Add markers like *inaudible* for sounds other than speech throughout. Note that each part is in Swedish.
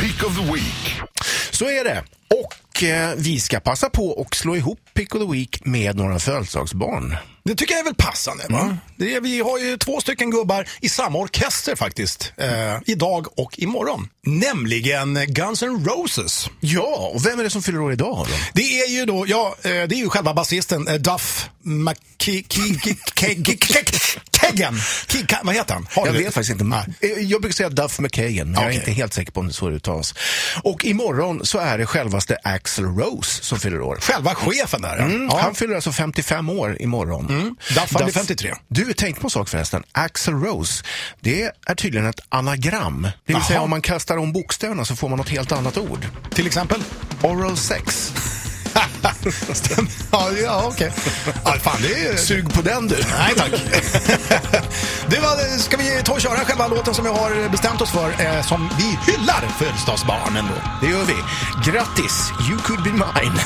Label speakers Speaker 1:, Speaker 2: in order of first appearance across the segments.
Speaker 1: Pick of the Week.
Speaker 2: Så är det. Och eh, vi ska passa på och slå ihop Pick of the Week med några födelsedagsbarn.
Speaker 3: Det tycker jag är väl passande. Va?
Speaker 2: Mm.
Speaker 3: Det är, vi har ju två stycken gubbar i samma orkester faktiskt. Eh, idag och imorgon. Nämligen Guns N' Roses.
Speaker 2: Ja, och vem är det som fyller år idag? Då?
Speaker 3: Det är ju då, ja, eh, det är ju själva basisten eh, Duff McKeggan. Vad heter han? Har
Speaker 2: Jag
Speaker 3: du-
Speaker 2: vet faktiskt inte.
Speaker 3: Nej.
Speaker 2: Eh, Jag brukar säga Duff McKagan, men jag är
Speaker 3: Okej.
Speaker 2: inte helt säker på om det är så det uttalas. Och imorgon så är det självaste Axl Rose som fyller år.
Speaker 3: Själva chefen där. ja.
Speaker 2: Mm,
Speaker 3: ja.
Speaker 2: Han fyller alltså 55 år imorgon.
Speaker 3: Duff, han blir 53.
Speaker 2: Du, tänk på en sak förresten. Axl Rose, det är tydligen ett anagram. Det vill
Speaker 3: Jaha.
Speaker 2: säga om man kastar om bokstäverna så får man något helt annat ord.
Speaker 3: Till exempel. *laughs*
Speaker 2: Oral sex.
Speaker 3: Stämmer. ja, ja okej. Ja, fan, det är ju...
Speaker 2: Sug på den du.
Speaker 3: Nej tack. *laughs* det var, ska vi ta och köra själva låten som vi har bestämt oss för, eh, som vi hyllar födelsedagsbarnen då.
Speaker 2: Det gör vi. Grattis, you could be
Speaker 3: *laughs*
Speaker 2: mine.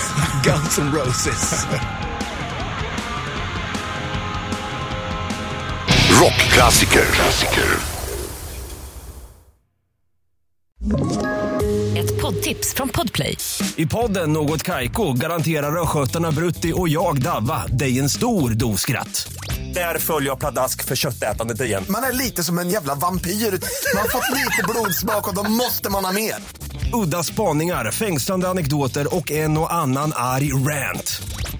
Speaker 2: Guns N' Roses.
Speaker 1: Rockklassiker. Klassiker.
Speaker 4: Ett poddtips från Podplay.
Speaker 5: I podden Något Kaiko garanterar östgötarna Brutti och jag, Davva, dig en stor dos skratt. Där följer jag pladask för köttätandet igen.
Speaker 6: Man är lite som en jävla vampyr. Man har fått lite blodsmak och då måste man ha mer.
Speaker 5: Udda spaningar, fängslande anekdoter och en och annan arg rant.